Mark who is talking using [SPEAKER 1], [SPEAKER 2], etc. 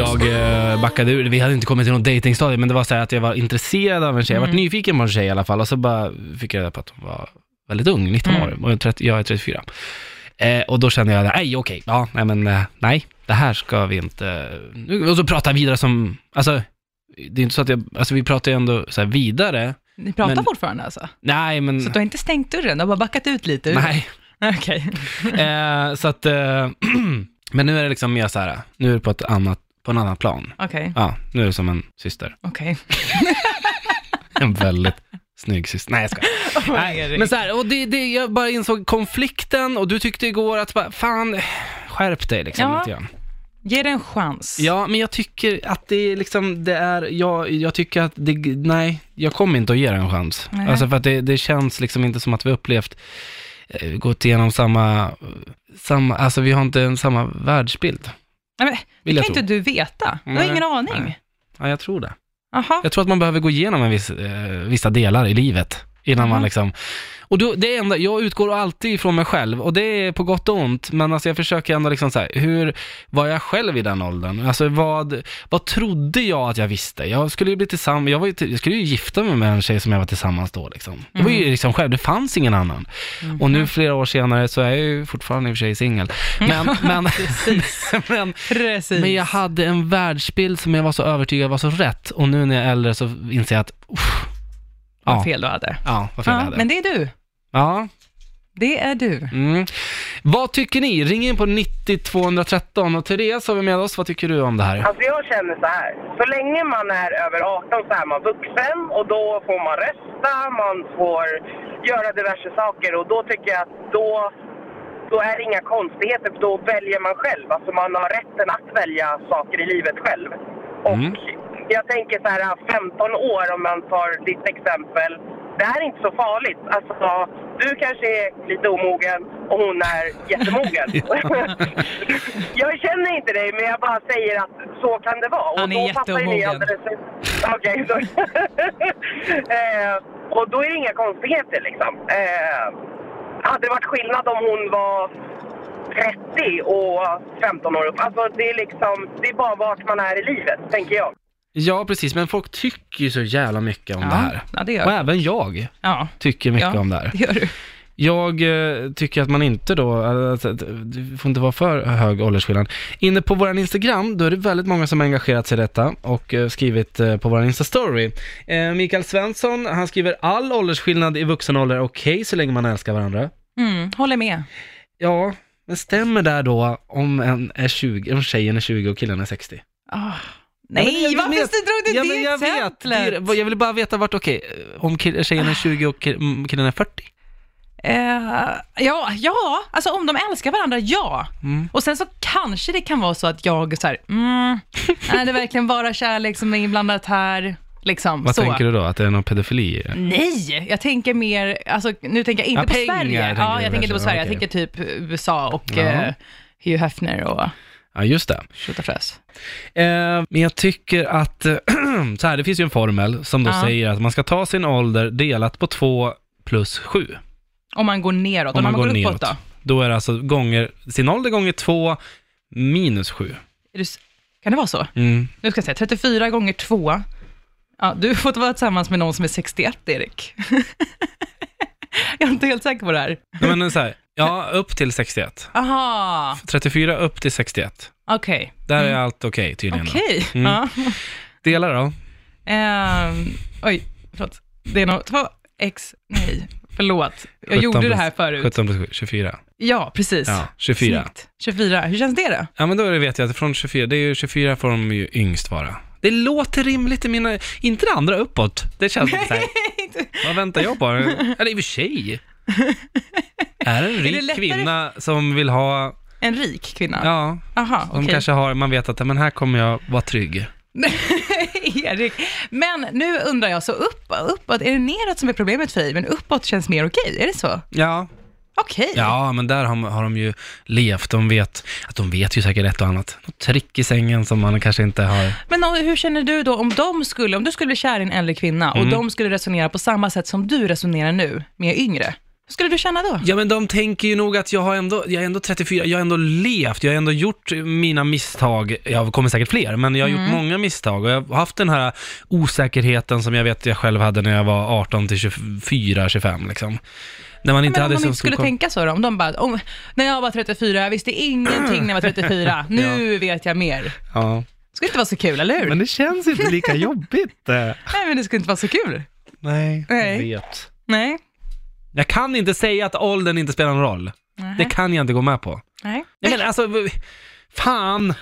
[SPEAKER 1] eh, backade ur, vi hade inte kommit till någon datingstadie men det var så här att jag var intresserad av en tjej, jag
[SPEAKER 2] Mm.
[SPEAKER 1] var nyfiken på en tjej i alla fall och så bara fick jag reda på att hon var väldigt ung, 19
[SPEAKER 2] Mm.
[SPEAKER 1] år, och jag är 30 jag är 34. Eh, och då kände jag, nej okej, ja, nej men eh, nej, det här ska vi inte, Nu- och så prata vidare som, alltså, det är inte så att jag, alltså vi pratar ju ändå så här vidare,
[SPEAKER 2] Ni pratar
[SPEAKER 1] Men-
[SPEAKER 2] fortfarande alltså?
[SPEAKER 1] nej men,
[SPEAKER 2] Så du har inte stängt dörren, du har bara backat ut lite? ur-
[SPEAKER 1] nej.
[SPEAKER 2] Okej.
[SPEAKER 1] Eh, så att, eh, men nu är det liksom mer så här, nu är det på ett annat, på en annan plan.
[SPEAKER 2] Okej,
[SPEAKER 1] Ja, nu är det som en syster.
[SPEAKER 2] okej.
[SPEAKER 1] En väldigt snygg syster. Nej, jag skojar. Nej, men så här, och det, det, jag bara insåg konflikten och du tyckte igår att bara, fan, skärp dig liksom
[SPEAKER 2] Ja.
[SPEAKER 1] lite grann.
[SPEAKER 2] Ge det en chans.
[SPEAKER 1] Ja, men jag tycker att det är liksom, det är, jag, jag tycker att det, nej, jag kommer inte att ge det en chans.
[SPEAKER 2] Nej.
[SPEAKER 1] Alltså för att det, det känns liksom inte som att vi har upplevt, eh, gått igenom samma, samma, alltså vi har inte en samma världsbild.
[SPEAKER 2] Nej, men, det
[SPEAKER 1] Vill
[SPEAKER 2] kan
[SPEAKER 1] jag
[SPEAKER 2] ju
[SPEAKER 1] tro.
[SPEAKER 2] inte du veta. Du har
[SPEAKER 1] Nej.
[SPEAKER 2] ingen aning.
[SPEAKER 1] Nej. Ja, jag tror det.
[SPEAKER 2] Jaha.
[SPEAKER 1] Jag tror att man behöver gå igenom en viss, eh, vissa delar i livet innan man
[SPEAKER 2] Mhm.
[SPEAKER 1] liksom... Och då, det enda, jag utgår alltid ifrån mig själv och det är på gott och ont, men alltså jag försöker ändå liksom så här, hur var jag själv i den åldern? Alltså vad, vad trodde jag att jag visste? Jag skulle ju bli tillsammans, jag, var ju, till- jag skulle ju gifta mig med en tjej som jag var tillsammans då liksom. Det var ju liksom själv, det fanns ingen annan. Och nu flera år senare så är jag ju fortfarande i och för sig singel. Men, men, men,
[SPEAKER 2] Precis.
[SPEAKER 1] men jag hade en världsbild som jag var så övertygad var så rätt och nu när jag är äldre så inser jag att, uff,
[SPEAKER 2] Vad
[SPEAKER 1] ja.
[SPEAKER 2] fel du hade.
[SPEAKER 1] ja, vad fel jag
[SPEAKER 2] Ja,
[SPEAKER 1] hade.
[SPEAKER 2] men det är du.
[SPEAKER 1] Ja,
[SPEAKER 2] Det är du.
[SPEAKER 1] mm. Vad tycker ni? Ring in på 90 213 och Therese har vi med oss, vad tycker du om det här?
[SPEAKER 3] Alltså jag känner så här. Så länge man är över 18 så är man vuxen och då får man rösta, man får göra diverse saker och då tycker jag att då, då är det inga konstigheter för då väljer man själv. Alltså man har rätten att välja saker i livet själv. Och
[SPEAKER 1] Mm.
[SPEAKER 3] jag tänker så här 15 år om man tar ditt exempel. Det här är inte så farligt. Alltså, du kanske är lite omogen och hon är jättemogen. Jag känner inte dig, men jag bara säger att så kan det vara. Och
[SPEAKER 2] Han är
[SPEAKER 3] då fattar ju ni
[SPEAKER 2] jätteomogen.
[SPEAKER 3] alldeles- Okej, då. eh, och då är det inga konstigheter liksom. Eh, hade det varit skillnad om hon var 30 och 15 år upp? Alltså det är liksom, det är bara vart man är i livet, tänker jag.
[SPEAKER 1] Ja, precis, men folk tycker ju så jävla mycket om det här.
[SPEAKER 2] ja, det
[SPEAKER 1] Och
[SPEAKER 2] gör du.
[SPEAKER 1] även jag
[SPEAKER 2] Ja,
[SPEAKER 1] tycker mycket
[SPEAKER 2] Ja.
[SPEAKER 1] om det här.
[SPEAKER 2] det gör du.
[SPEAKER 1] Jag eh, tycker att man inte då, alltså, att- det får inte vara för hög åldersskillnad. Inne på vår Instagram, då är det väldigt många som har engagerat sig i detta och eh, skrivit eh, på vår Insta-story. Eh, Mikael Svensson, han skriver all åldersskillnad i vuxen ålder är okej så länge man älskar varandra.
[SPEAKER 2] Mm, håller med.
[SPEAKER 1] Ja, men stämmer där då om, en är 20, om tjejen är 20 och killen är 60?
[SPEAKER 2] Ah,
[SPEAKER 1] Ja, men
[SPEAKER 2] nej,
[SPEAKER 1] jag
[SPEAKER 2] varför
[SPEAKER 1] vet-
[SPEAKER 2] så drog du
[SPEAKER 1] ja, men
[SPEAKER 2] det
[SPEAKER 1] jag vet, det
[SPEAKER 2] exemplet?
[SPEAKER 1] är, vad- jag vill bara veta vart okej, eh, om kill, tjejen är 20 och kill, mm, killen är 40?
[SPEAKER 2] Eh, ja, ja, alltså om de älskar varandra, ja.
[SPEAKER 1] Mm.
[SPEAKER 2] Och sen så kanske det kan vara så att jag så här, mm, är det verkligen bara kärlek som är inblandat här? Liksom,
[SPEAKER 1] Vad
[SPEAKER 2] så.
[SPEAKER 1] tänker du då, att det är någon pedofili? i det?
[SPEAKER 2] Nej, jag tänker mer, alltså nu tänker jag inte
[SPEAKER 1] Ja,
[SPEAKER 2] på
[SPEAKER 1] pengar
[SPEAKER 2] Sverige.
[SPEAKER 1] tänker
[SPEAKER 2] ja,
[SPEAKER 1] du
[SPEAKER 2] jag tänker inte på
[SPEAKER 1] kanske.
[SPEAKER 2] Sverige,
[SPEAKER 1] Ja,
[SPEAKER 2] jag tänker typ USA och
[SPEAKER 1] Ja.
[SPEAKER 2] eh, Hugh Hefner och
[SPEAKER 1] Ja, just det.
[SPEAKER 2] tjotafräs.
[SPEAKER 1] Eh, Men jag tycker att, eh, så här, det finns ju en formel som då
[SPEAKER 2] Ja.
[SPEAKER 1] säger att man ska ta sin ålder delat på 2 plus 7.
[SPEAKER 2] Om man går neråt, och
[SPEAKER 1] Om
[SPEAKER 2] när
[SPEAKER 1] man går
[SPEAKER 2] uppåt
[SPEAKER 1] neråt.
[SPEAKER 2] då?
[SPEAKER 1] Då är det alltså gånger, sin ålder gånger 2 minus 7.
[SPEAKER 2] Är du, s- kan det vara så?
[SPEAKER 1] Mm.
[SPEAKER 2] Nu ska jag säga, 34 gånger 2. Ja, du har fått vara tillsammans med någon som är 61, Erik. jag är inte helt säker på det här.
[SPEAKER 1] Nej, men så här, ja, upp till 61.
[SPEAKER 2] Aha,
[SPEAKER 1] 34 upp till 61.
[SPEAKER 2] okej.
[SPEAKER 1] Där är allt okej tydligen. då.
[SPEAKER 2] Mm. Okej.
[SPEAKER 1] Mm.
[SPEAKER 2] Ja.
[SPEAKER 1] Dela då.
[SPEAKER 2] Ehm, oj, förlåt. Det är nog 2x, nej, förlåt. Jag
[SPEAKER 1] 17
[SPEAKER 2] gjorde det här
[SPEAKER 1] plus-
[SPEAKER 2] förut.
[SPEAKER 1] 17 plus 7, 24.
[SPEAKER 2] Ja, precis.
[SPEAKER 1] Ja, 24.
[SPEAKER 2] Snyggt. 24. Hur känns det då?
[SPEAKER 1] Ja men då vet jag att från 24, det är ju 24 får de ju yngst vara. Det låter rimligt i mina, inte det andra uppåt. Det känns inte så här, vad väntar jag på? Eller i och för sig. Är det en
[SPEAKER 2] det
[SPEAKER 1] rik
[SPEAKER 2] lättare-
[SPEAKER 1] kvinna som vill ha,
[SPEAKER 2] En rik kvinna?
[SPEAKER 1] ja,
[SPEAKER 2] Aha,
[SPEAKER 1] de
[SPEAKER 2] okej.
[SPEAKER 1] kanske har, man vet att men här kommer jag vara trygg.
[SPEAKER 2] Erik. Men nu undrar jag, så upp, uppåt, är det neråt som är problemet för dig, men uppåt känns mer okej? Är det så?
[SPEAKER 1] Ja,
[SPEAKER 2] Okej.
[SPEAKER 1] ja men där har, har de ju levt, de vet, att de vet ju säkert ett och annat. Något trick i sängen som man kanske inte har.
[SPEAKER 2] Men om- hur känner du då om de
[SPEAKER 1] Mm.
[SPEAKER 2] skulle, om du skulle bli kär i en äldre kvinna och de skulle resonera på samma sätt som du resonerar nu med yngre? Hur skulle du känna då?
[SPEAKER 1] Ja men de tänker ju nog att jag har ändå, jag är ändå 34, jag har ändå levt, jag har ändå gjort mina misstag, jag kommer säkert fler, men jag har
[SPEAKER 2] Mm.
[SPEAKER 1] gjort många misstag och jag har haft den här osäkerheten som jag vet jag själv hade när jag var 18 till 24, 25 liksom. När man inte
[SPEAKER 2] Men om
[SPEAKER 1] hade
[SPEAKER 2] de
[SPEAKER 1] så
[SPEAKER 2] inte
[SPEAKER 1] stor
[SPEAKER 2] skulle
[SPEAKER 1] koll.
[SPEAKER 2] tänka så då? Om de bara, om, när jag var 34, jag visste ingenting när jag var 34, nu vet jag mer.
[SPEAKER 1] Ja.
[SPEAKER 2] skulle inte vara så kul, eller hur?
[SPEAKER 1] Men det känns inte lika jobbigt. eh.
[SPEAKER 2] Nej, men det skulle inte vara så kul.
[SPEAKER 1] Nej, jag
[SPEAKER 2] Nej.
[SPEAKER 1] vet.
[SPEAKER 2] Nej.
[SPEAKER 1] Jag kan inte säga att åldern inte spelar någon roll.
[SPEAKER 2] Nej.
[SPEAKER 1] Det kan jag inte gå med på.
[SPEAKER 2] Nej.
[SPEAKER 1] Nej men alltså, v- fan!